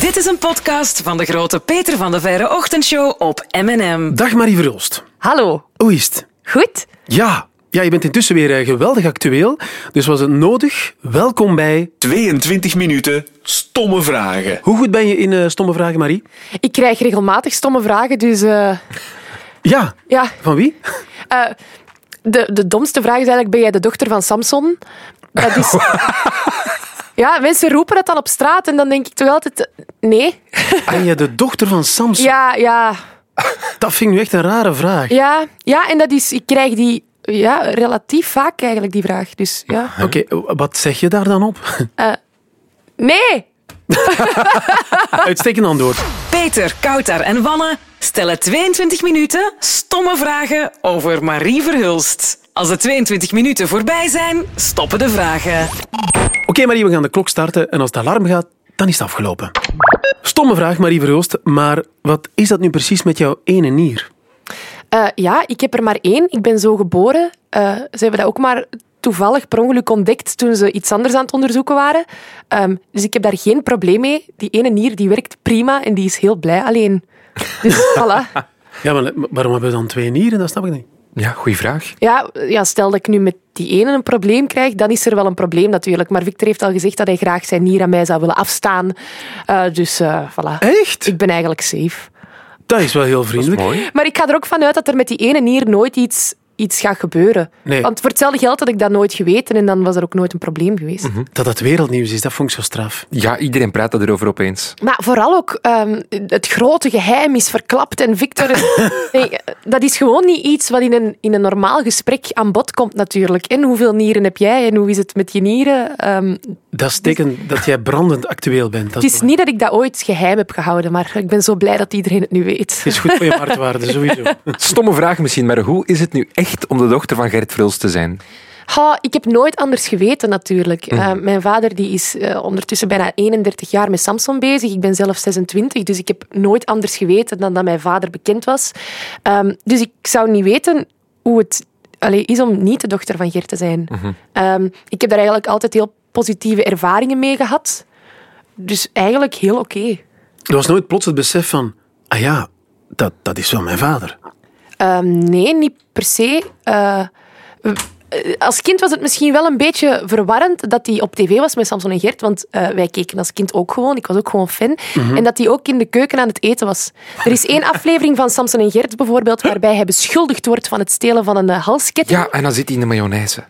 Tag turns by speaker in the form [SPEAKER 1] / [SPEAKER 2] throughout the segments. [SPEAKER 1] Dit is een podcast van de grote Peter van de Verre Ochtendshow op M&M.
[SPEAKER 2] Dag Marie Verhulst.
[SPEAKER 3] Hallo,
[SPEAKER 2] Hoe is het?
[SPEAKER 3] goed?
[SPEAKER 2] Ja. ja, je bent intussen weer eh, geweldig actueel. Dus was het nodig? Welkom bij...
[SPEAKER 4] 22 minuten stomme vragen.
[SPEAKER 2] Hoe goed ben je in eh, stomme vragen, Marie?
[SPEAKER 3] Ik krijg regelmatig stomme vragen, dus eh,
[SPEAKER 2] Ja.
[SPEAKER 3] ja.
[SPEAKER 2] Van wie?
[SPEAKER 3] eh, de, de domste vraag is eigenlijk, ben jij de dochter van Samson? Dat is... ja, mensen roepen dat dan op straat en dan denk ik toch altijd, nee.
[SPEAKER 2] Anja, de dochter van Samson.
[SPEAKER 3] Ja, ja,
[SPEAKER 2] Dat vind ik nu echt een rare vraag.
[SPEAKER 3] ja, ja, en dat is, ik krijg die ja, relatief vaak eigenlijk, die vraag. Dus ja,
[SPEAKER 2] Oké, eh, wat zeg je daar dan op?
[SPEAKER 3] nee!
[SPEAKER 2] Uitstekend antwoord.
[SPEAKER 1] Peter, Kouter en Wanne stellen 22 minuten stomme vragen over Marie Verhulst. Als de 22 minuten voorbij zijn, stoppen de vragen.
[SPEAKER 2] Oké, Marie, we gaan de klok starten. En als het alarm gaat, dan is het afgelopen. Stomme vraag, Marie Verhulst. Maar wat is dat nu precies met jouw ene nier?
[SPEAKER 3] Eh, ja, ik heb er maar één. Ik ben zo geboren. Eh, ze hebben dat ook maar toevallig per ongeluk ontdekt toen ze iets anders aan het onderzoeken waren. Ehm, dus ik heb daar geen probleem mee. Die ene nier die werkt prima en die is heel blij alleen. Dus voilà.
[SPEAKER 2] Ja, maar eh, waarom hebben we dan twee nieren? Dat snap ik niet.
[SPEAKER 5] Ja, goeie vraag.
[SPEAKER 3] Ja, ja, stel dat ik nu met die ene een probleem krijg, dan is er wel een probleem natuurlijk. Maar Victor heeft al gezegd dat hij graag zijn nier aan mij zou willen afstaan. Eh, dus eh, voilà.
[SPEAKER 2] Echt?
[SPEAKER 3] Ik ben eigenlijk safe.
[SPEAKER 2] Dat is wel heel vriendelijk.
[SPEAKER 5] Mooi.
[SPEAKER 3] Maar ik ga er ook vanuit dat er met die ene nier nooit iets, iets gaat gebeuren.
[SPEAKER 2] Nee.
[SPEAKER 3] Want voor hetzelfde geld had ik dat nooit geweten en dan was er ook nooit een probleem geweest.
[SPEAKER 2] Dat dat wereldnieuws is, dat vond ik zo straf.
[SPEAKER 5] Ja, iedereen praat erover opeens.
[SPEAKER 3] Maar vooral ook ehm, het grote geheim is verklapt en Victor... nee, dat is gewoon niet iets wat in een, in een normaal gesprek aan bod komt natuurlijk. En hoeveel nieren heb jij en hoe is het met je nieren? Ehm,
[SPEAKER 2] Dat is teken dat jij brandend actueel bent. Dat
[SPEAKER 3] het is niet dat ik dat ooit geheim heb gehouden, maar ik ben zo blij dat iedereen het nu weet.
[SPEAKER 2] Het is goed voor je hartwaarde, sowieso.
[SPEAKER 5] Stomme vraag misschien, maar hoe is het nu echt om de dochter van Gert Vrils te zijn?
[SPEAKER 3] Ha, ik heb nooit anders geweten natuurlijk. Eh, mijn vader die is eh, ondertussen bijna 31 jaar met Samsung bezig. Ik ben zelf 26, dus ik heb nooit anders geweten dan dat mijn vader bekend was. Ehm, dus ik zou niet weten hoe het allee, is om niet de dochter van Geert te zijn. Ehm, ik heb daar eigenlijk altijd heel positieve ervaringen mee gehad. Dus eigenlijk heel oké.
[SPEAKER 2] Er was nooit plots het besef van... Ah ja, dat, dat is wel mijn vader.
[SPEAKER 3] Ehm, nee, niet per se. Eh, eh, als kind was het misschien wel een beetje verwarrend dat hij op tv was met Samson en Gert, want eh, wij keken als kind ook gewoon, ik was ook gewoon fan,
[SPEAKER 5] Mhm.
[SPEAKER 3] en dat hij ook in de keuken aan het eten was. Er is één aflevering van Samson en Gert bijvoorbeeld, waarbij hij beschuldigd wordt van het stelen van een eh, halsketting.
[SPEAKER 5] Ja, en dan zit hij in de mayonaise.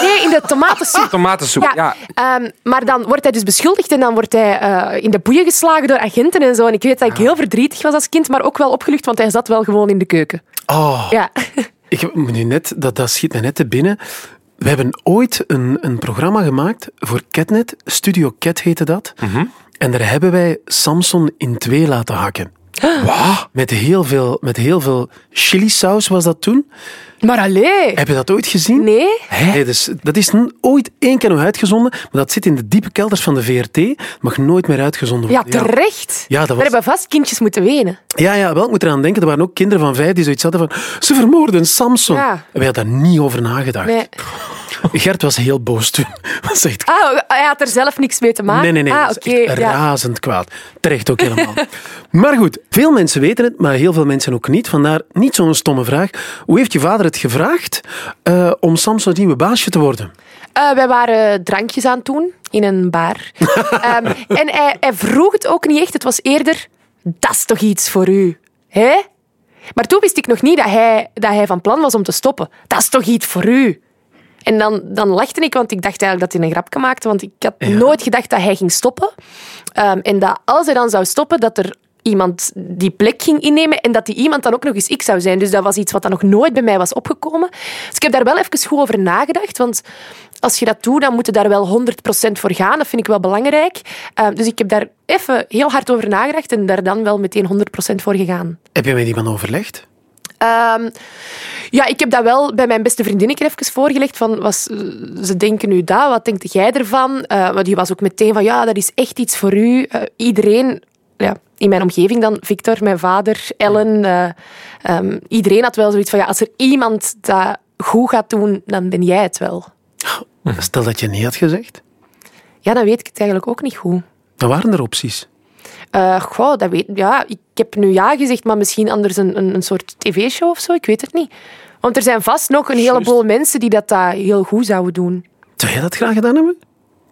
[SPEAKER 3] Nee, in de tomatensoep.
[SPEAKER 5] Tomatensoep, ja.
[SPEAKER 3] ehm, maar dan wordt hij dus beschuldigd en dan wordt hij eh, in de boeien geslagen door agenten en zo. En ik weet dat ik heel verdrietig was als kind, maar ook wel opgelucht, want hij zat wel gewoon in de keuken.
[SPEAKER 2] Oh,
[SPEAKER 3] Ja.
[SPEAKER 2] ik heb me nu net, dat, dat schiet me net te binnen. We hebben ooit een, een programma gemaakt voor Catnet. Studio Cat heette dat. En daar hebben wij Samson in twee laten hakken. Wat? Met heel veel, met heel veel chilisaus was dat toen.
[SPEAKER 3] Maar allee...
[SPEAKER 2] Heb je dat ooit gezien?
[SPEAKER 3] Nee?
[SPEAKER 2] Nee, dus dat is n- ooit één keer nog uitgezonden, maar dat zit in de diepe kelders van de VRT. Mag nooit meer uitgezonden
[SPEAKER 3] Ja,
[SPEAKER 2] worden.
[SPEAKER 3] terecht.
[SPEAKER 2] Ja, dat was-
[SPEAKER 3] We hebben vast kindjes moeten wenen.
[SPEAKER 2] Ja, ja, wel, ik moet eraan denken. Er waren ook kinderen van vijf die zoiets hadden van... Ze vermoorden Samson.
[SPEAKER 3] Ja.
[SPEAKER 2] En wij hadden daar niet over nagedacht.
[SPEAKER 3] Nee.
[SPEAKER 2] Gert was heel boos toen. Was echt...
[SPEAKER 3] Ah, hij had er zelf niks mee te maken?
[SPEAKER 2] Nee, nee, nee.
[SPEAKER 3] Ah,
[SPEAKER 2] dat is
[SPEAKER 3] oké,
[SPEAKER 2] echt
[SPEAKER 3] ja.
[SPEAKER 2] razend kwaad. Terecht ook helemaal. maar goed, veel mensen weten het, maar heel veel mensen ook niet. Vandaar niet zo'n stomme vraag. Hoe heeft je vader het gevraagd eh, om Samson's nieuwe baasje te worden?
[SPEAKER 3] Eh, wij waren drankjes aan het doen in een bar. Ehm, en hij, hij vroeg het ook niet echt. Het was eerder, dat is toch iets voor u? Hè? Maar toen wist ik nog niet dat hij, dat hij van plan was om te stoppen. Dat is toch iets voor u? En dan, dan lachte ik, want ik dacht eigenlijk dat hij een grapje maakte. Want ik had nooit gedacht dat hij ging stoppen. Ehm, en dat als hij dan zou stoppen, dat er iemand die plek ging innemen en dat die iemand dan ook nog eens ik zou zijn. Dus dat was iets wat dan nog nooit bij mij was opgekomen. Dus ik heb daar wel even goed over nagedacht, want als je dat doet, dan moet je daar wel 100% voor gaan. Dat vind ik wel belangrijk. Ehm, dus ik heb daar even heel hard over nagedacht en daar dan wel meteen 100% voor gegaan.
[SPEAKER 2] Heb je met iemand overlegd?
[SPEAKER 3] Ehm, ja, ik heb dat wel bij mijn beste vriendinnetje even voorgelegd. Van, was, eh, ze denken nu dat, wat denkt jij ervan? Eh, maar die was ook meteen van, ja, dat is echt iets voor u. Eh, iedereen, ja, in mijn omgeving dan, Victor, mijn vader, Ellen. eh, ehm, iedereen had wel zoiets van, ja, als er iemand dat goed gaat doen, dan ben jij het wel.
[SPEAKER 2] Stel dat je nee had gezegd.
[SPEAKER 3] Ja, dan weet ik het eigenlijk ook niet goed.
[SPEAKER 2] Dan waren er opties.
[SPEAKER 3] Eh, Eh, goh, dat weet ja, ik heb nu ja gezegd, maar misschien anders een, een, een soort tv-show of zo. Ik weet het niet. Want er zijn vast nog een heleboel mensen die dat, eh, heel goed zouden doen.
[SPEAKER 2] Zou jij dat graag gedaan hebben?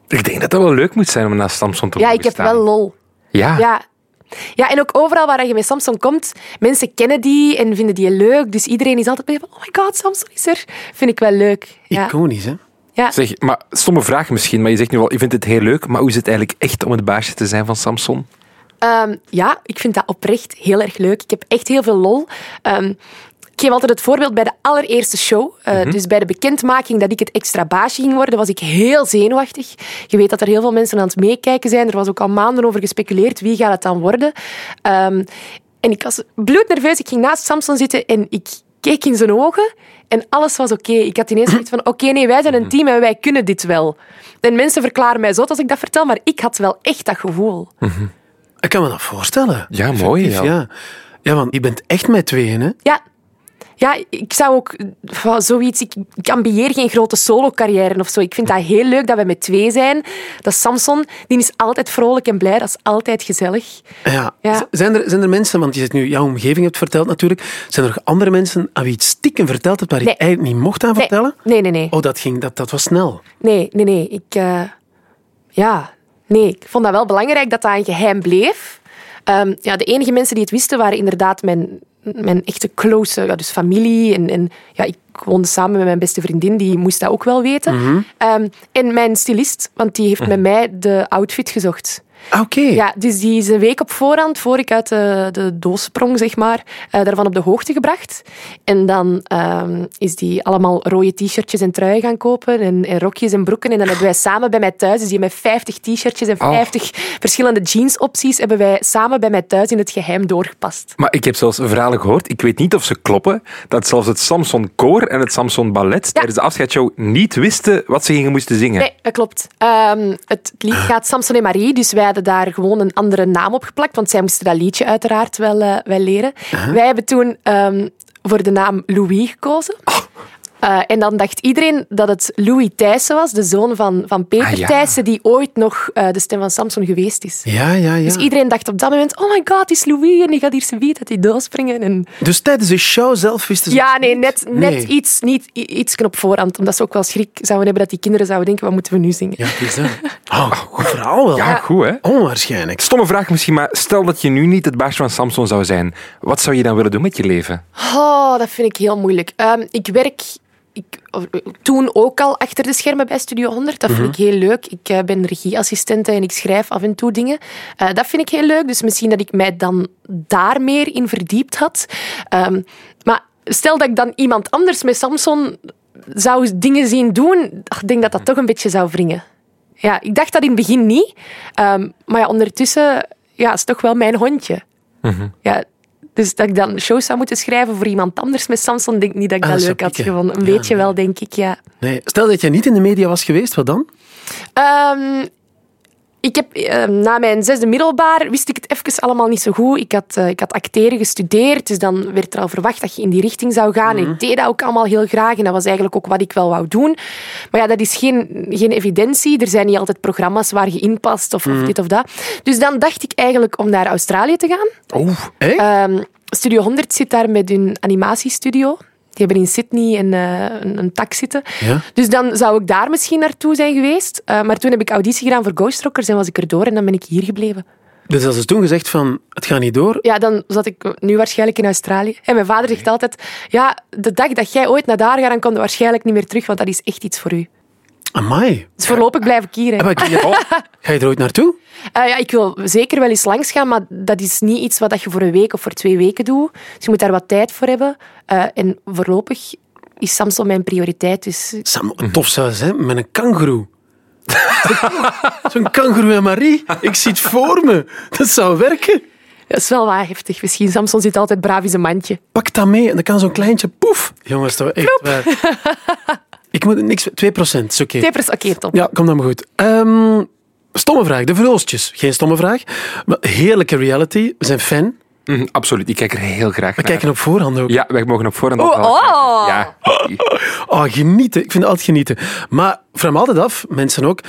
[SPEAKER 5] Ik denk dat dat wel leuk moet zijn om naast Samson te
[SPEAKER 3] Ja,
[SPEAKER 5] mogen
[SPEAKER 3] ik heb
[SPEAKER 5] staan.
[SPEAKER 3] wel lol.
[SPEAKER 5] Ja.
[SPEAKER 3] Ja. Ja, en ook overal waar je met Samson komt, mensen kennen die en vinden die leuk. Dus iedereen is altijd bij van, oh my god, Samson is er. Vind ik wel leuk. Ja.
[SPEAKER 2] Iconisch, hè?
[SPEAKER 3] Ja.
[SPEAKER 5] Zeg, maar stomme vraag misschien, maar je zegt nu wel, je vindt het heel leuk, maar hoe is het eigenlijk echt om het baasje te zijn van Samson?
[SPEAKER 3] Ehm, ja, ik vind dat oprecht heel erg leuk. Ik heb echt heel veel lol. Ehm, ik geef altijd het voorbeeld bij de allereerste show. Eh, Dus bij de bekendmaking dat ik het extra baasje ging worden, was ik heel zenuwachtig. Je weet dat er heel veel mensen aan het meekijken zijn. Er was ook al maanden over gespeculeerd wie gaat het dan worden. Ehm, en ik was bloednerveus. Ik ging naast Samson zitten en ik keek in zijn ogen en alles was oké. Ik had ineens zoiets van, oké, nee, wij zijn een team en wij kunnen dit wel. En mensen verklaren mij zot als ik dat vertel, maar ik had wel echt dat gevoel.
[SPEAKER 2] Ik kan me dat voorstellen.
[SPEAKER 5] Ja, mooi,
[SPEAKER 2] Effectief,
[SPEAKER 5] ja.
[SPEAKER 2] ja. Ja, want je bent echt met tweeën, hè?
[SPEAKER 3] Ja. Ja, ik zou ook eh, zoiets. Ik, ik ambieer geen grote solo-carrière of zo. Ik vind dat heel leuk dat we met twee zijn. Dat Samson, die is altijd vrolijk en blij. Dat is altijd gezellig.
[SPEAKER 2] Ja.
[SPEAKER 3] Ja.
[SPEAKER 2] Z- Zijn, er, zijn er mensen, want je zit nu jouw omgeving hebt verteld natuurlijk, zijn er nog andere mensen aan wie je het stiekem verteld hebt waar je
[SPEAKER 3] Nee.
[SPEAKER 2] eigenlijk niet mocht aan
[SPEAKER 3] Nee,
[SPEAKER 2] vertellen?
[SPEAKER 3] nee, nee, nee.
[SPEAKER 2] Oh, dat, ging, dat, dat was snel.
[SPEAKER 3] Nee, nee, nee. Ik, eh, ja, nee. Ik vond dat wel belangrijk dat dat een geheim bleef. Ehm, ja, de enige mensen die het wisten waren inderdaad mijn, mijn echte close, ja, dus familie. En, en ja, ik woonde samen met mijn beste vriendin, die moest dat ook wel weten. Ehm, en mijn stylist, want die heeft met mij de outfit gezocht.
[SPEAKER 2] Ah, Oké.
[SPEAKER 3] Ja, dus die is een week op voorhand, voor ik uit de, de doos sprong, zeg maar, eh, daarvan op de hoogte gebracht. En dan ehm, is die allemaal rode t-shirtjes en truien gaan kopen en, en rokjes en broeken. En dan hebben wij samen bij mij thuis, dus die met 50 t-shirtjes en
[SPEAKER 5] Oh.
[SPEAKER 3] 50 verschillende jeansopties, hebben wij samen bij mij thuis in het geheim doorgepast.
[SPEAKER 5] Maar ik heb zelfs verhalen gehoord, ik weet niet of ze kloppen, dat zelfs het Samson Koor en het Samson Ballet tijdens de afscheidshow niet wisten wat ze gingen moesten zingen.
[SPEAKER 3] Nee, dat klopt. Ehm, het lied gaat Samson en Marie, dus wij hadden daar gewoon een andere naam op geplakt, want zij moesten dat liedje uiteraard wel, eh, wel leren. Wij hebben toen ehm, voor de naam Louis gekozen.
[SPEAKER 5] Oh.
[SPEAKER 3] Eh, en dan dacht iedereen dat het Louis Thijssen was, de zoon van, van Peter
[SPEAKER 5] Ah, ja.
[SPEAKER 3] Thijssen, die ooit nog eh, de stem van Samson geweest is.
[SPEAKER 2] Ja, ja, ja.
[SPEAKER 5] Ah.
[SPEAKER 3] Dus iedereen dacht op dat moment, oh my god, het is Louis en die gaat hier zo uit die doos springen. En
[SPEAKER 2] Dus tijdens de show zelf wisten ze...
[SPEAKER 3] ja, nee, net, net
[SPEAKER 2] Nee.
[SPEAKER 3] iets, niet, i- iets knop voorhand, omdat ze ook wel schrik zouden hebben dat die kinderen zouden denken, wat moeten we nu zingen?
[SPEAKER 2] Ja, het is dat. Oh, goed verhaal wel.
[SPEAKER 5] Ja, goed hè?
[SPEAKER 2] Onwaarschijnlijk.
[SPEAKER 5] Stomme vraag misschien, maar stel dat je nu niet het baasje van Samson zou zijn, wat zou je dan willen doen met je leven?
[SPEAKER 3] Oh, dat vind ik heel moeilijk. Ehm, ik werk ik, eh, toen ook al achter de schermen bij Studio 100. Dat vind ik heel leuk. Ik eh, ben regieassistente en ik schrijf af en toe dingen. Eh, dat vind ik heel leuk. Dus misschien dat ik mij dan daar meer in verdiept had. Ehm, maar stel dat ik dan iemand anders met Samson zou dingen zien doen, ach, ik denk dat dat toch een beetje zou wringen. Ja, ik dacht dat in het begin niet. Ehm, maar ja, ondertussen ja, is toch wel mijn hondje.
[SPEAKER 2] Mhm.
[SPEAKER 3] Ja, dus dat ik dan shows zou moeten schrijven voor iemand anders met Samson, denk ik niet dat ik
[SPEAKER 2] Ah,
[SPEAKER 3] dat,
[SPEAKER 2] dat
[SPEAKER 3] leuk
[SPEAKER 2] zou
[SPEAKER 3] had
[SPEAKER 2] pikken.
[SPEAKER 3] gevonden. Een
[SPEAKER 2] Ja,
[SPEAKER 3] beetje wel, denk ik, ja.
[SPEAKER 2] Nee. Stel dat jij niet in de media was geweest, wat dan?
[SPEAKER 3] Ehm, ik heb, ehm, na mijn zesde middelbaar wist ik het even allemaal niet zo goed. Ik had, eh, ik had acteren gestudeerd, dus dan werd er al verwacht dat je in die richting zou gaan. En ik deed dat ook allemaal heel graag en dat was eigenlijk ook wat ik wel wou doen. Maar ja, dat is geen, geen evidentie. Er zijn niet altijd programma's waar je in past of, of dit of dat. Dus dan dacht ik eigenlijk om naar Australië te gaan.
[SPEAKER 2] Oeh. Echt?
[SPEAKER 3] Ehm, Studio 100 zit daar met hun animatiestudio. Die hebben in Sydney een, eh, een, een tak zitten.
[SPEAKER 2] Ja.
[SPEAKER 3] Dus dan zou ik daar misschien naartoe zijn geweest. Eh, maar toen heb ik auditie gedaan voor Ghost Rockers en was ik erdoor en dan ben ik hier gebleven.
[SPEAKER 2] Dus als ze toen gezegd van, het gaat niet door...
[SPEAKER 3] Ja, dan zat ik nu waarschijnlijk in Australië. En mijn vader zegt altijd, ja, de dag dat jij ooit naar daar gaat, dan komt je waarschijnlijk niet meer terug, want dat is echt iets voor u.
[SPEAKER 2] Amai.
[SPEAKER 3] Dus voorlopig blijf ik hier. hè.
[SPEAKER 2] Ja, maar ik- oh, Ga je er ooit naartoe?
[SPEAKER 3] Eh, ja, ik wil zeker wel eens langs gaan, maar dat is niet iets wat dat je voor een week of voor twee weken doet. Dus je moet daar wat tijd voor hebben. Eh, en voorlopig is Samsung mijn prioriteit. Dus
[SPEAKER 2] Sam, tof zou het zijn met een kangoeroe. Zo'n kangoeroe en Marie. Ik zie het voor me. Dat zou werken.
[SPEAKER 3] dat is wel waar heftig. Misschien Samson zit altijd braaf in zijn mandje.
[SPEAKER 2] Pak dat mee en dan kan zo'n kleintje poef. Jongens, dat echt waar. Ik moet niks... 2% is oké.
[SPEAKER 3] Tippers, oké, top.
[SPEAKER 2] Ja, komt helemaal goed. Ehm, stomme vraag. De verhulstjes. Geen stomme vraag. Maar heerlijke reality. We zijn fan.
[SPEAKER 5] Mhm, absoluut, ik kijk er heel graag
[SPEAKER 2] We
[SPEAKER 5] naar.
[SPEAKER 2] kijken op voorhand ook.
[SPEAKER 5] Ja, wij mogen op voorhand
[SPEAKER 3] Oh,
[SPEAKER 5] ook wel kijken.
[SPEAKER 3] oh.
[SPEAKER 5] Ja.
[SPEAKER 2] Oh, genieten. Ik vind het altijd genieten. Maar vraag me altijd af, mensen ook,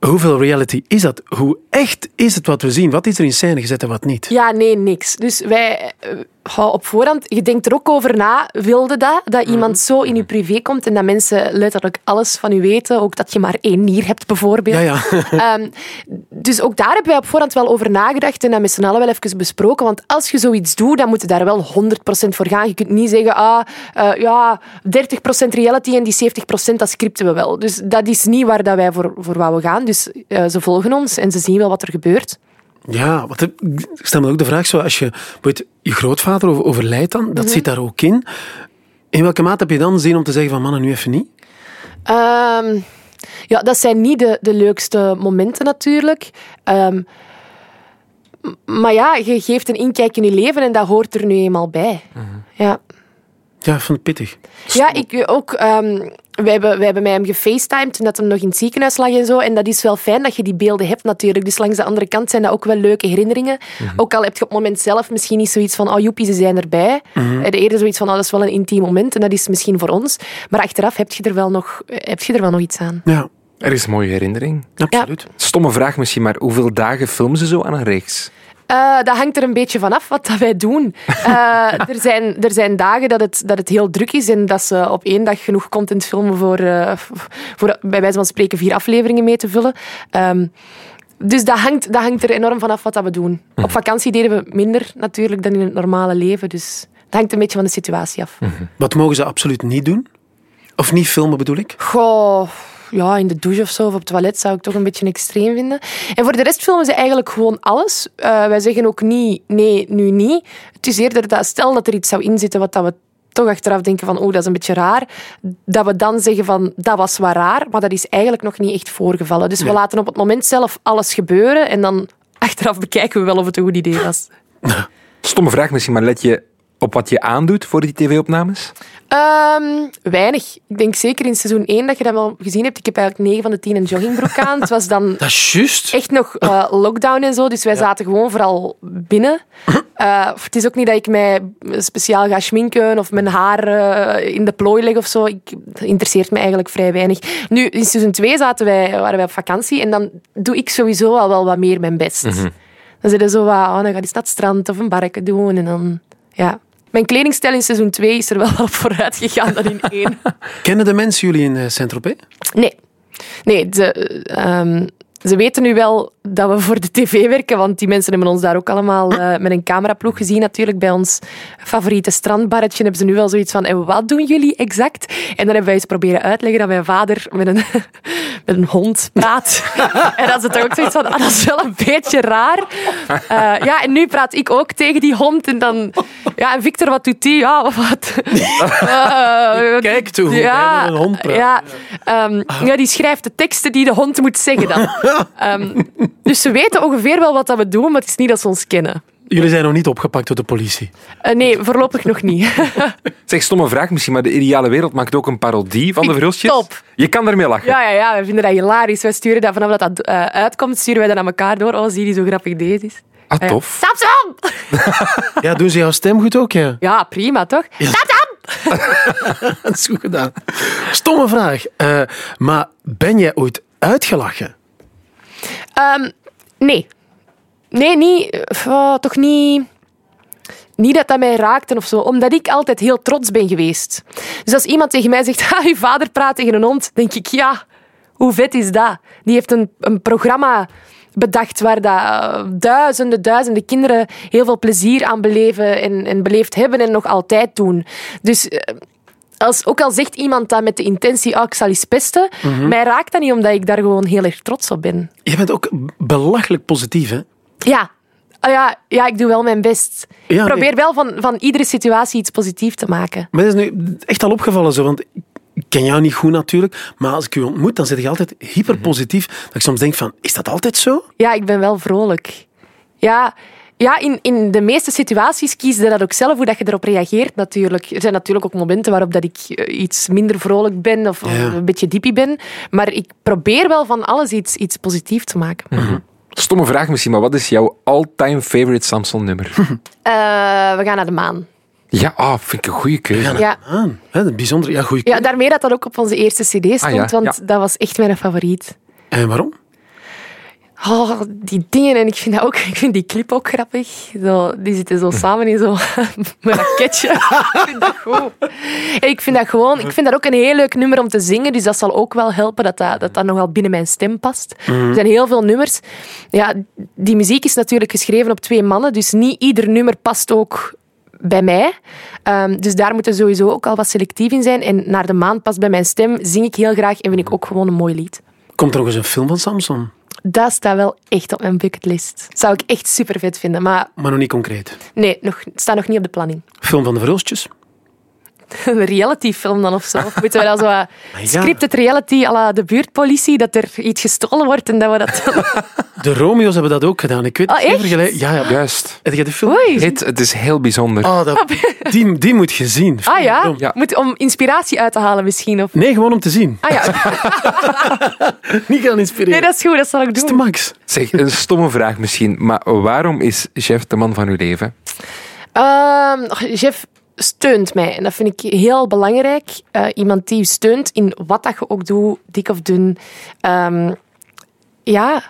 [SPEAKER 2] hoeveel reality is dat? Hoe echt is het wat we zien? Wat is er in scène gezet en wat niet?
[SPEAKER 3] Ja, nee, niks. Dus wij, eh, goh, op voorhand, je denkt er ook over na, wilde dat, dat
[SPEAKER 2] Mhm.
[SPEAKER 3] iemand zo in je privé komt en dat mensen letterlijk alles van u weten, ook dat je maar één nier hebt bijvoorbeeld.
[SPEAKER 2] Ja, ja.
[SPEAKER 3] Ehm, dus ook daar hebben wij op voorhand wel over nagedacht en dat met z'n allen wel even besproken. Want als je zoiets doet, dan moet je daar wel 100% voor gaan. Je kunt niet zeggen, ah, eh, ja, 30% reality en die 70% dat scripten we wel. Dus dat is niet waar dat wij voor, voor wouden gaan. Dus eh, ze volgen ons en ze zien wel wat er gebeurt.
[SPEAKER 2] Ja, want ik stel me ook de vraag, zo, als je, weet, je grootvader over- overlijdt dan, dat zit daar ook in. In welke mate heb je dan zin om te zeggen van mannen, nu even niet?
[SPEAKER 3] Ehm, ja, dat zijn niet de, de leukste momenten natuurlijk. Ehm, m- maar ja, je geeft een inkijk in je leven en dat hoort er nu eenmaal bij. Ja.
[SPEAKER 2] Ja, ik vond het pittig.
[SPEAKER 3] Ja, ik ook. ehm we hebben, wij hebben met hem gefacetimed toen dat hem nog in het ziekenhuis lag en zo. En dat is wel fijn dat je die beelden hebt natuurlijk. Dus langs de andere kant zijn dat ook wel leuke herinneringen. Ook al heb je op het moment zelf misschien niet zoiets van, oh joepie, ze zijn erbij. En Eerder zoiets van, oh, dat is wel een intiem moment en dat is misschien voor ons. Maar achteraf heb je er wel nog, heb je er wel nog iets aan.
[SPEAKER 2] Ja,
[SPEAKER 5] Er is een mooie herinnering.
[SPEAKER 2] absoluut.
[SPEAKER 5] Stomme vraag misschien, maar hoeveel dagen filmen ze zo aan een reeks?
[SPEAKER 3] Eh, dat hangt er een beetje vanaf wat dat wij doen. Eh, er, zijn, er zijn dagen dat het, dat het heel druk is en dat ze op één dag genoeg content filmen voor, eh, voor bij wijze van spreken vier afleveringen mee te vullen. Ehm, dus dat hangt, dat hangt er enorm vanaf wat dat we doen. Op vakantie deden we minder natuurlijk dan in het normale leven. Dus dat hangt een beetje van de situatie af.
[SPEAKER 2] Wat mogen ze absoluut niet doen? Of niet filmen bedoel ik?
[SPEAKER 3] Goh, ja, in de douche of zo, of op het toilet zou ik toch een beetje extreem vinden. En voor de rest filmen ze eigenlijk gewoon alles. Eh, wij zeggen ook niet, nee, nu niet. Het is eerder dat, stel dat er iets zou inzitten wat dat we toch achteraf denken van, oeh, dat is een beetje raar. Dat we dan zeggen van, dat was wel raar, maar dat is eigenlijk nog niet echt voorgevallen. Dus we laten op het moment zelf alles gebeuren en dan achteraf bekijken we wel of het een goed idee was.
[SPEAKER 5] Stomme vraag misschien, maar let je op wat je aandoet voor die tv-opnames?
[SPEAKER 3] Ehm, weinig. Ik denk zeker in seizoen 1 dat je dat wel gezien hebt. Ik heb eigenlijk 9 van de 10 een joggingbroek aan. Het was dan
[SPEAKER 2] Dat is juist.
[SPEAKER 3] echt nog eh, lockdown en zo, dus wij zaten gewoon vooral binnen. Eh, het is ook niet dat ik mij speciaal ga schminken of mijn haar eh, in de plooi leg of zo. Ik, dat interesseert me eigenlijk vrij weinig. Nu, in seizoen 2 zaten wij, waren wij op vakantie en dan doe ik sowieso al wel wat meer mijn best. Dan zitten zo wat, oh, dan ga ik naar het strand of een barken doen en dan, ja. Mijn kledingstijl in seizoen 2 is er wel op vooruit gegaan dan in 1.
[SPEAKER 2] Kennen de mensen jullie in eh, Saint-Tropez?
[SPEAKER 3] Nee. Nee, ze, eh, ehm, ze weten nu wel dat we voor de tv werken, want die mensen hebben ons daar ook allemaal eh, met een cameraploeg gezien. Natuurlijk, bij ons favoriete strandbarretje hebben ze nu wel zoiets van en wat doen jullie exact? En dan hebben wij eens proberen uitleggen dat mijn vader met een, met een hond praat. en dan is het ook zoiets van, ah, dat is wel een beetje raar. Eh, ja, en nu praat ik ook tegen die hond en dan... Ja, en Victor, wat doet die? Ja, wat... Eh,
[SPEAKER 2] Kijk toe hoe hij met een hond praat.
[SPEAKER 3] ja. Ehm, ja, die schrijft de teksten die de hond moet zeggen dan. Ehm, dus ze weten ongeveer wel wat dat we doen, maar het is niet dat ze ons kennen.
[SPEAKER 2] Jullie zijn nog niet opgepakt door de politie.
[SPEAKER 3] Eh, nee, voorlopig nog niet.
[SPEAKER 5] Zeg, stomme vraag misschien, maar de ideale wereld maakt ook een parodie van de Vrulstjes.
[SPEAKER 3] top.
[SPEAKER 5] Je kan ermee lachen.
[SPEAKER 3] ja, ja, ja, we vinden dat hilarisch. Wij sturen dat vanaf dat dat eh, uitkomt, sturen wij dat aan elkaar door. Oh, zie die zo grappig deze is.
[SPEAKER 5] Ah,
[SPEAKER 3] Eh,
[SPEAKER 5] tof.
[SPEAKER 3] Samsung!
[SPEAKER 2] Ja, doen ze jouw stem goed ook, ja?
[SPEAKER 3] Ja, prima, toch? Samsung!
[SPEAKER 2] Dat is goed gedaan. Stomme vraag. Eh, maar ben jij ooit uitgelachen?
[SPEAKER 3] Ehm, nee. Nee, niet, eh, toch niet... Niet dat dat mij raakte of zo, omdat ik altijd heel trots ben geweest. Dus als iemand tegen mij zegt, ha, je vader praat tegen een hond, denk ik, ja, hoe vet is dat? Die heeft een, een programma bedacht waar dat, eh, duizenden, duizenden kinderen heel veel plezier aan beleven en, en beleefd hebben en nog altijd doen. Dus eh, als, ook al zegt iemand dat met de intentie, ah, ik zal eens pesten, mij raakt dat niet omdat ik daar gewoon heel erg trots op ben.
[SPEAKER 2] Je bent ook belachelijk positief, hè?
[SPEAKER 3] Ja. Ah ja, ja, ik doe wel mijn best.
[SPEAKER 2] Ja,
[SPEAKER 3] ik probeer
[SPEAKER 2] nee.
[SPEAKER 3] wel van, van iedere situatie iets positiefs te maken.
[SPEAKER 2] Maar dat is nu echt al opgevallen zo, want ik ken jou niet goed natuurlijk, maar als ik u ontmoet, dan zit je altijd hyperpositief. Dat ik soms denk van, is dat altijd zo?
[SPEAKER 3] Ja, ik ben wel vrolijk. Ja, ja in, in de meeste situaties kies je dat ook zelf, hoe dat je erop reageert natuurlijk. Er zijn natuurlijk ook momenten waarop dat ik eh, iets minder vrolijk ben of of
[SPEAKER 2] Ja.
[SPEAKER 3] een beetje diepie ben. Maar ik probeer wel van alles iets, iets positiefs te maken.
[SPEAKER 2] Mhm.
[SPEAKER 5] Stomme vraag misschien, maar wat is jouw all-time favorite Samson-nummer?
[SPEAKER 3] Eh, we gaan naar de maan.
[SPEAKER 5] ja, ah, vind ik een goede keuze.
[SPEAKER 3] Ja.
[SPEAKER 2] Ah, hè, dat is bijzonder. Ja, goeie Ah,
[SPEAKER 3] Ja, daarmee dat dat ook op onze eerste cd stond,
[SPEAKER 5] ja,
[SPEAKER 3] want
[SPEAKER 5] ja.
[SPEAKER 3] dat was echt mijn favoriet.
[SPEAKER 2] En waarom?
[SPEAKER 3] Oh, die dingen. En ik vind, dat ook, ik vind die clip ook grappig. Zo, die zitten zo samen in zo'n raketje. ik vind dat goed. En ik vind dat gewoon... Ik vind dat ook een heel leuk nummer om te zingen. Dus dat zal ook wel helpen dat dat, dat, dat nog wel binnen mijn stem past. Er zijn heel veel nummers. Ja, die muziek is natuurlijk geschreven op twee mannen. Dus niet ieder nummer past ook bij mij. Ehm, dus daar moeten sowieso ook al wat selectief in zijn. En Naar de Maan past bij mijn stem, zing ik heel graag en vind ik ook gewoon een mooi lied.
[SPEAKER 2] Komt er nog eens een film van Samson?
[SPEAKER 3] Dat staat wel echt op mijn bucketlist. Zou ik echt super vet vinden. Maar
[SPEAKER 2] Maar nog niet concreet.
[SPEAKER 3] nee, nog, het staat nog niet op de planning.
[SPEAKER 2] Film van de Verhulstjes?
[SPEAKER 3] Een realityfilm dan of zo. Of Moeten we dan zo wat
[SPEAKER 2] ja.
[SPEAKER 3] scripted reality à la de buurtpolitie, dat er iets gestolen wordt en dat we dat...
[SPEAKER 2] De Romeo's hebben dat ook gedaan. Ik weet
[SPEAKER 3] Ah,
[SPEAKER 2] niet,
[SPEAKER 3] echt?
[SPEAKER 2] vergelijk- Ja, ja.
[SPEAKER 5] Juist.
[SPEAKER 2] Heb je de film?
[SPEAKER 3] Oei.
[SPEAKER 5] Hit, het Oh. is heel bijzonder.
[SPEAKER 2] Ah, dat, die, die moet je zien.
[SPEAKER 3] Ah ja?
[SPEAKER 5] Ja.
[SPEAKER 3] Moet, om inspiratie uit te halen misschien. Of...
[SPEAKER 2] Nee, gewoon om te zien.
[SPEAKER 3] Ah ja,
[SPEAKER 2] Niet gaan inspireren.
[SPEAKER 3] nee, dat is goed, dat zal ik
[SPEAKER 2] is de
[SPEAKER 3] doen.
[SPEAKER 2] max.
[SPEAKER 5] Zeg, een stomme vraag misschien, maar waarom is Jeff de man van uw leven?
[SPEAKER 3] Ehm, och, Jeff steunt mij en dat vind ik heel belangrijk. Eh, iemand die je steunt in wat dat je ook doet, dik of dun. Ehm, ja,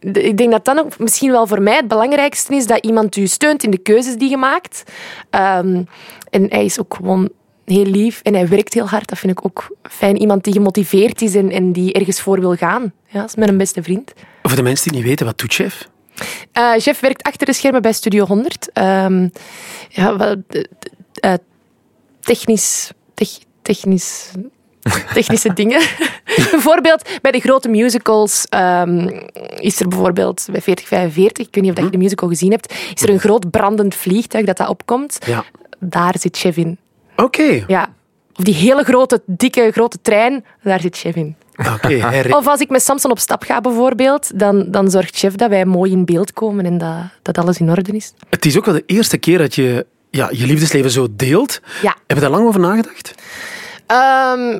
[SPEAKER 3] de- ik denk dat dan ook misschien wel voor mij het belangrijkste is dat iemand u steunt in de keuzes die je maakt. Ehm, en hij is ook gewoon heel lief en hij werkt heel hard. Dat vind ik ook fijn. Iemand die gemotiveerd is en, en die ergens voor wil gaan. Ja, dat is mijn beste vriend.
[SPEAKER 2] Voor de mensen die niet weten, wat doet chef?
[SPEAKER 3] Eh, Jeff werkt achter de schermen bij Studio 100. Ehm, ja, wel, eh, eh, technisch, tech- technisch, technische dingen. bijvoorbeeld bij de grote musicals ehm, is er bijvoorbeeld bij 4045, ik weet niet of dat je de musical gezien hebt, is er een groot brandend vliegtuig dat dat opkomt.
[SPEAKER 2] Ja.
[SPEAKER 3] Daar zit Chef in.
[SPEAKER 2] Oké.
[SPEAKER 3] Ja. Of die hele grote, dikke, grote trein, daar zit Chef in.
[SPEAKER 2] Oké, hij re-
[SPEAKER 3] Of als ik met Samson op stap ga bijvoorbeeld, dan, dan zorgt chef dat wij mooi in beeld komen en dat, dat alles in orde is.
[SPEAKER 2] Het is ook wel de eerste keer dat je ja, je liefdesleven zo deelt.
[SPEAKER 3] Ja.
[SPEAKER 2] Heb je daar lang over nagedacht?
[SPEAKER 3] Ehm,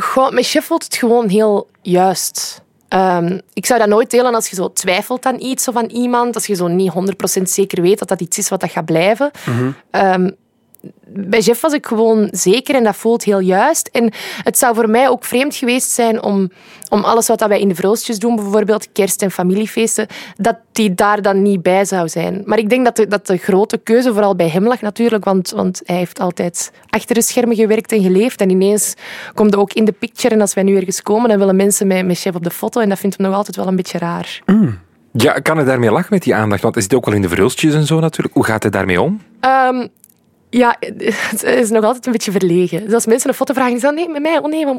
[SPEAKER 3] goh, mijn chef voelt het gewoon heel juist. Ehm, ik zou dat nooit delen als je zo twijfelt aan iets of aan iemand. Als je zo niet 100% zeker weet dat dat iets is wat dat gaat blijven. Ehm, bij Jeff was ik gewoon zeker en dat voelt heel juist. En het zou voor mij ook vreemd geweest zijn om, om alles wat dat wij in de Vroostjes doen, bijvoorbeeld kerst- en familiefeesten, dat die daar dan niet bij zou zijn. Maar ik denk dat de, dat de grote keuze vooral bij hem lag natuurlijk, want, want hij heeft altijd achter de schermen gewerkt en geleefd. En ineens komt hij ook in de picture. En als wij nu ergens komen, dan willen mensen met, met Chef op de foto. En dat vindt hem nog altijd wel een beetje raar.
[SPEAKER 5] Ja, ik kan het daarmee lachen met die aandacht? Want hij zit ook wel in de vrulstjes en zo natuurlijk. Hoe gaat hij daarmee om?
[SPEAKER 3] Ehm, ja, het is nog altijd een beetje verlegen. Dus als mensen een foto vragen, is dat nee, met mij? Oh nee, maar-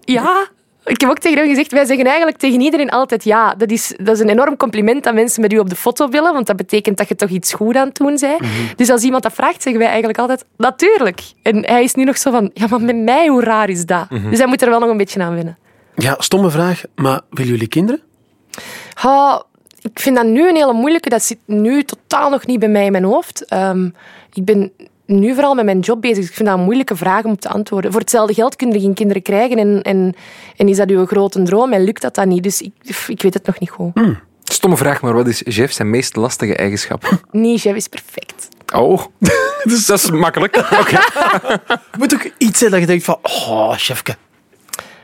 [SPEAKER 3] ja. Ik heb ook tegen hem gezegd, wij zeggen eigenlijk tegen iedereen altijd ja. Dat is, dat is een enorm compliment dat mensen met u op de foto willen, want dat betekent dat je toch iets goed aan het doen bent. Dus als iemand dat vraagt, zeggen wij eigenlijk altijd natuurlijk. En hij is nu nog zo van, ja, maar met mij, hoe raar is dat? Dus hij moet er wel nog een beetje aan winnen.
[SPEAKER 2] Ja, stomme vraag, maar willen jullie kinderen?
[SPEAKER 3] Ah, ik vind dat nu een hele moeilijke. Dat zit nu totaal nog niet bij mij in mijn hoofd. Ehm, ik ben nu vooral met mijn job bezig. dus Ik vind dat een moeilijke vraag om te antwoorden. Voor hetzelfde geld kunnen er geen kinderen krijgen. En, en, en is dat uw grote droom? En lukt dat dan niet? Dus ik, pff, ik weet het nog niet goed.
[SPEAKER 5] Stomme vraag, maar wat is Jeff zijn meest lastige eigenschap?
[SPEAKER 3] Nee, Jeff is perfect.
[SPEAKER 5] Oh, dat is makkelijk. Oké.
[SPEAKER 2] Er moet ook iets zijn dat je denkt van, oh, chefke.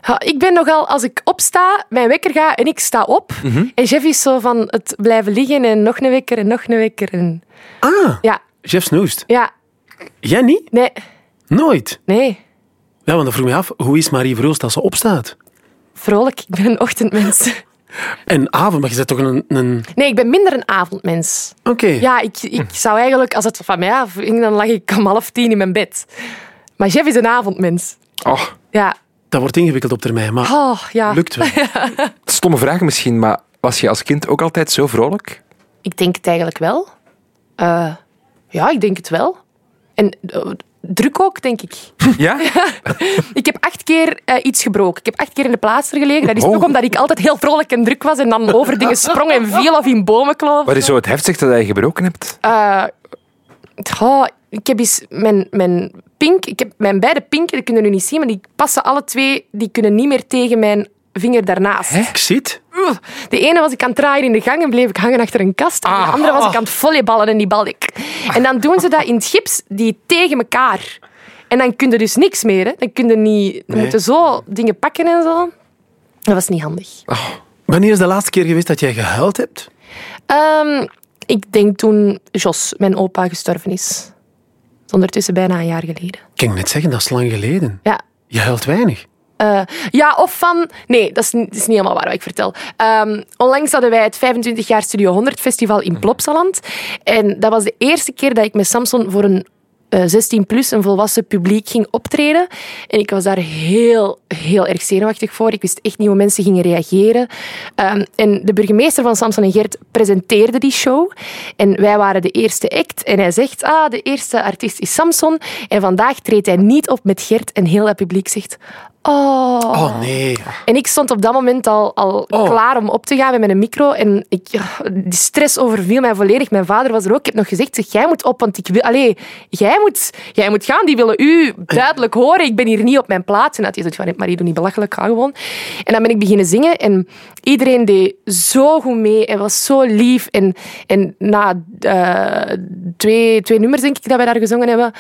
[SPEAKER 3] Ja, ik ben nogal, als ik opsta, mijn wekker ga en ik sta op. En Jeff is zo van het blijven liggen en nog een wekker en nog een wekker. En...
[SPEAKER 2] Ah,
[SPEAKER 3] Ja,
[SPEAKER 2] chef snoest.
[SPEAKER 3] ja,
[SPEAKER 2] Jij niet?
[SPEAKER 3] nee,
[SPEAKER 2] Nooit.
[SPEAKER 3] nee.
[SPEAKER 2] Ja, want dan vroeg ik me af, hoe is Marie Verhulst als ze opstaat?
[SPEAKER 3] Vrolijk, ik ben een ochtendmens.
[SPEAKER 2] En avond, maar je zet toch een... een...
[SPEAKER 3] Nee, ik ben minder een avondmens.
[SPEAKER 2] Oké.
[SPEAKER 3] Ja, ik, ik zou eigenlijk, als het van mij afhing, dan lag ik om half tien in mijn bed. Maar Jeff is een avondmens.
[SPEAKER 5] Oh,
[SPEAKER 3] Ja.
[SPEAKER 2] Dat wordt ingewikkeld op termijn, maar
[SPEAKER 3] Oh, ja.
[SPEAKER 2] lukt wel.
[SPEAKER 5] stomme vraag misschien, maar was je als kind ook altijd zo vrolijk?
[SPEAKER 3] Ik denk het eigenlijk wel. Eh, ja, ik denk het wel. En eh, druk ook, denk ik.
[SPEAKER 5] Ja?
[SPEAKER 3] Ik heb acht keer eh, iets gebroken. Ik heb acht keer in de plaaster gelegen. Dat is
[SPEAKER 5] Oh.
[SPEAKER 3] toch omdat ik altijd heel vrolijk en druk was en dan over dingen sprong en viel of in bomen kloof.
[SPEAKER 5] Wat is zo het heftigste dat je gebroken hebt?
[SPEAKER 3] Eh, goh, ik heb eens mijn, mijn pink, ik heb mijn beide pinken, die kunnen nu niet zien, maar die passen alle twee, die kunnen niet meer tegen mijn vinger daarnaast.
[SPEAKER 2] Ik zit.
[SPEAKER 3] Oeh. De ene was ik aan het draaien in de gang en bleef ik hangen achter een kast. En de andere was ik aan het volleyballen en die balde ik. En dan doen ze dat in het gips, die tegen elkaar. En dan kun je dus niks meer. Hè. Dan kun je niet, dan moeten zo dingen pakken en zo. Dat was niet handig.
[SPEAKER 2] Wanneer is de laatste keer geweest dat jij gehuild hebt?
[SPEAKER 3] Ehm, ik denk toen Jos, mijn opa, gestorven is. Dat is ondertussen bijna een jaar geleden.
[SPEAKER 2] Ik kan net zeggen, dat is lang geleden.
[SPEAKER 3] Ja.
[SPEAKER 2] Je huilt weinig.
[SPEAKER 3] Eh, ja, of van... Nee, dat is, niet- dat is niet helemaal waar wat ik vertel. Ehm, onlangs hadden wij het 25 jaar Studio 100 festival in Plopsaland. En dat was de eerste keer dat ik met Samson voor een 16-plus, een volwassen publiek, ging optreden. En ik was daar heel, heel erg zenuwachtig voor. Ik wist echt niet hoe mensen gingen reageren. Ehm, en de burgemeester van Samson en Gert presenteerde die show. En wij waren de eerste act. En hij zegt, ah, de eerste artiest is Samson. En vandaag treedt hij niet op met Gert. En heel dat publiek zegt, oh...
[SPEAKER 2] Oh nee.
[SPEAKER 3] En ik stond op dat moment al, al klaar om op te gaan met mijn micro. En ik, ja, die stress overviel mij volledig. Mijn vader was er ook. Ik heb nog gezegd, zeg, jij moet op, want ik wil... Allee, jij moet, jij moet gaan. Die willen u duidelijk horen. Ik ben hier niet op mijn plaats. En dat hij zoiets van, nee, Marie, doe niet belachelijk, ga gewoon. En dan ben ik beginnen zingen. En iedereen deed zo goed mee. En was zo lief. En, en na eh, twee, twee nummers, denk ik, dat wij daar gezongen hebben,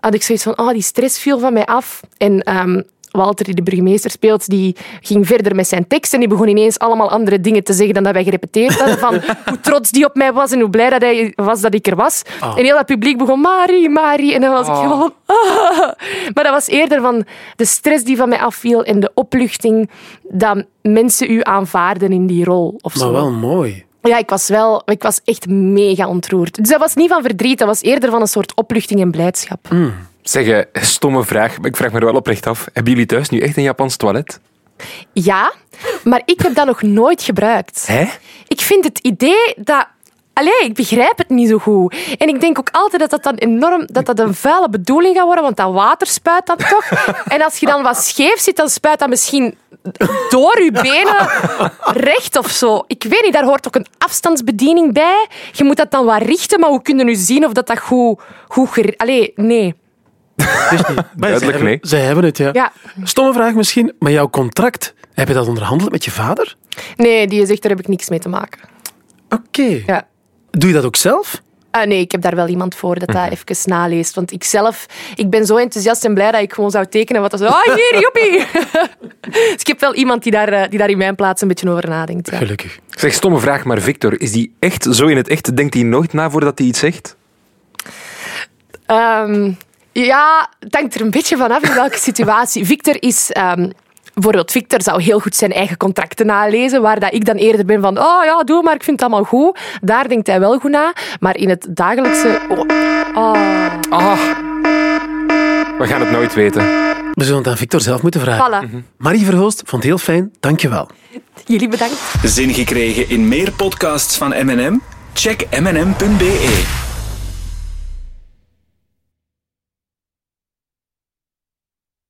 [SPEAKER 3] had ik zoiets van, oh, die stress viel van mij af. En... ehm, Walter, die de burgemeester speelt, die ging verder met zijn tekst en die begon ineens allemaal andere dingen te zeggen dan dat wij gerepeteerd hadden. Van hoe trots die op mij was en hoe blij dat hij was dat ik er was.
[SPEAKER 2] Ah.
[SPEAKER 3] En heel dat publiek begon, Marie, Marie. En dan was ik gewoon... "Ah." Maar dat was eerder van de stress die van mij afviel en de opluchting dat mensen u aanvaarden in die rol. Of
[SPEAKER 2] Maar
[SPEAKER 3] zo.
[SPEAKER 2] wel mooi.
[SPEAKER 3] Ja, ik was wel... Ik was echt mega ontroerd. Dus dat was niet van verdriet, dat was eerder van een soort opluchting en blijdschap.
[SPEAKER 2] Mm.
[SPEAKER 5] Zeg, eh, stomme vraag, maar ik vraag me er wel oprecht af. Hebben jullie thuis nu echt een Japans toilet?
[SPEAKER 3] Ja, maar ik heb dat nog nooit gebruikt.
[SPEAKER 5] Hè?
[SPEAKER 3] Ik vind het idee dat... Allee, ik begrijp het niet zo goed. En ik denk ook altijd dat dat dan enorm... Dat dat een vuile bedoeling gaat worden, want dat water spuit dat toch. En als je dan wat scheef zit, dan spuit dat misschien door je benen recht of zo. Ik weet niet, daar hoort ook een afstandsbediening bij. Je moet dat dan wat richten, maar hoe kunnen nu zien of dat dat goed... goed gere- Allee, nee.
[SPEAKER 5] Duidelijk nee.
[SPEAKER 2] Zij hebben het, ja.
[SPEAKER 3] Ja.
[SPEAKER 2] Stomme vraag misschien, maar jouw contract, heb je dat onderhandeld met je vader?
[SPEAKER 3] Nee, die zegt, daar heb ik niks mee te maken.
[SPEAKER 2] Oké.
[SPEAKER 3] Ja.
[SPEAKER 2] Doe je dat ook zelf?
[SPEAKER 3] Ah, nee, ik heb daar wel iemand voor dat dat even naleest. Want ik zelf, ik ben zo enthousiast en blij dat ik gewoon zou tekenen. Wat dat zo, ah, hier, joepie. dus ik heb wel iemand die daar, eh, die daar in mijn plaats een beetje over nadenkt. Ja.
[SPEAKER 2] Gelukkig.
[SPEAKER 5] Zeg, stomme vraag, maar Victor, is die echt zo in het echt? Denkt hij nooit na voordat hij iets zegt?
[SPEAKER 3] Ehm, ja, het hangt er een beetje vanaf in welke situatie. Victor is... ehm, Bijvoorbeeld, Victor zou heel goed zijn eigen contracten nalezen, waar dat ik dan eerder ben van, oh ja, doe maar, ik vind het allemaal goed. Daar denkt hij wel goed na, maar in het dagelijkse... Oh, ah,
[SPEAKER 5] Ah, we gaan het nooit weten.
[SPEAKER 2] We zullen het aan Victor zelf moeten vragen.
[SPEAKER 3] voilà.
[SPEAKER 2] Marie Verhoost, vond het heel fijn. Dank je wel.
[SPEAKER 3] Jullie bedankt.
[SPEAKER 4] Zin gekregen in meer podcasts van M&M? Check mnm.be.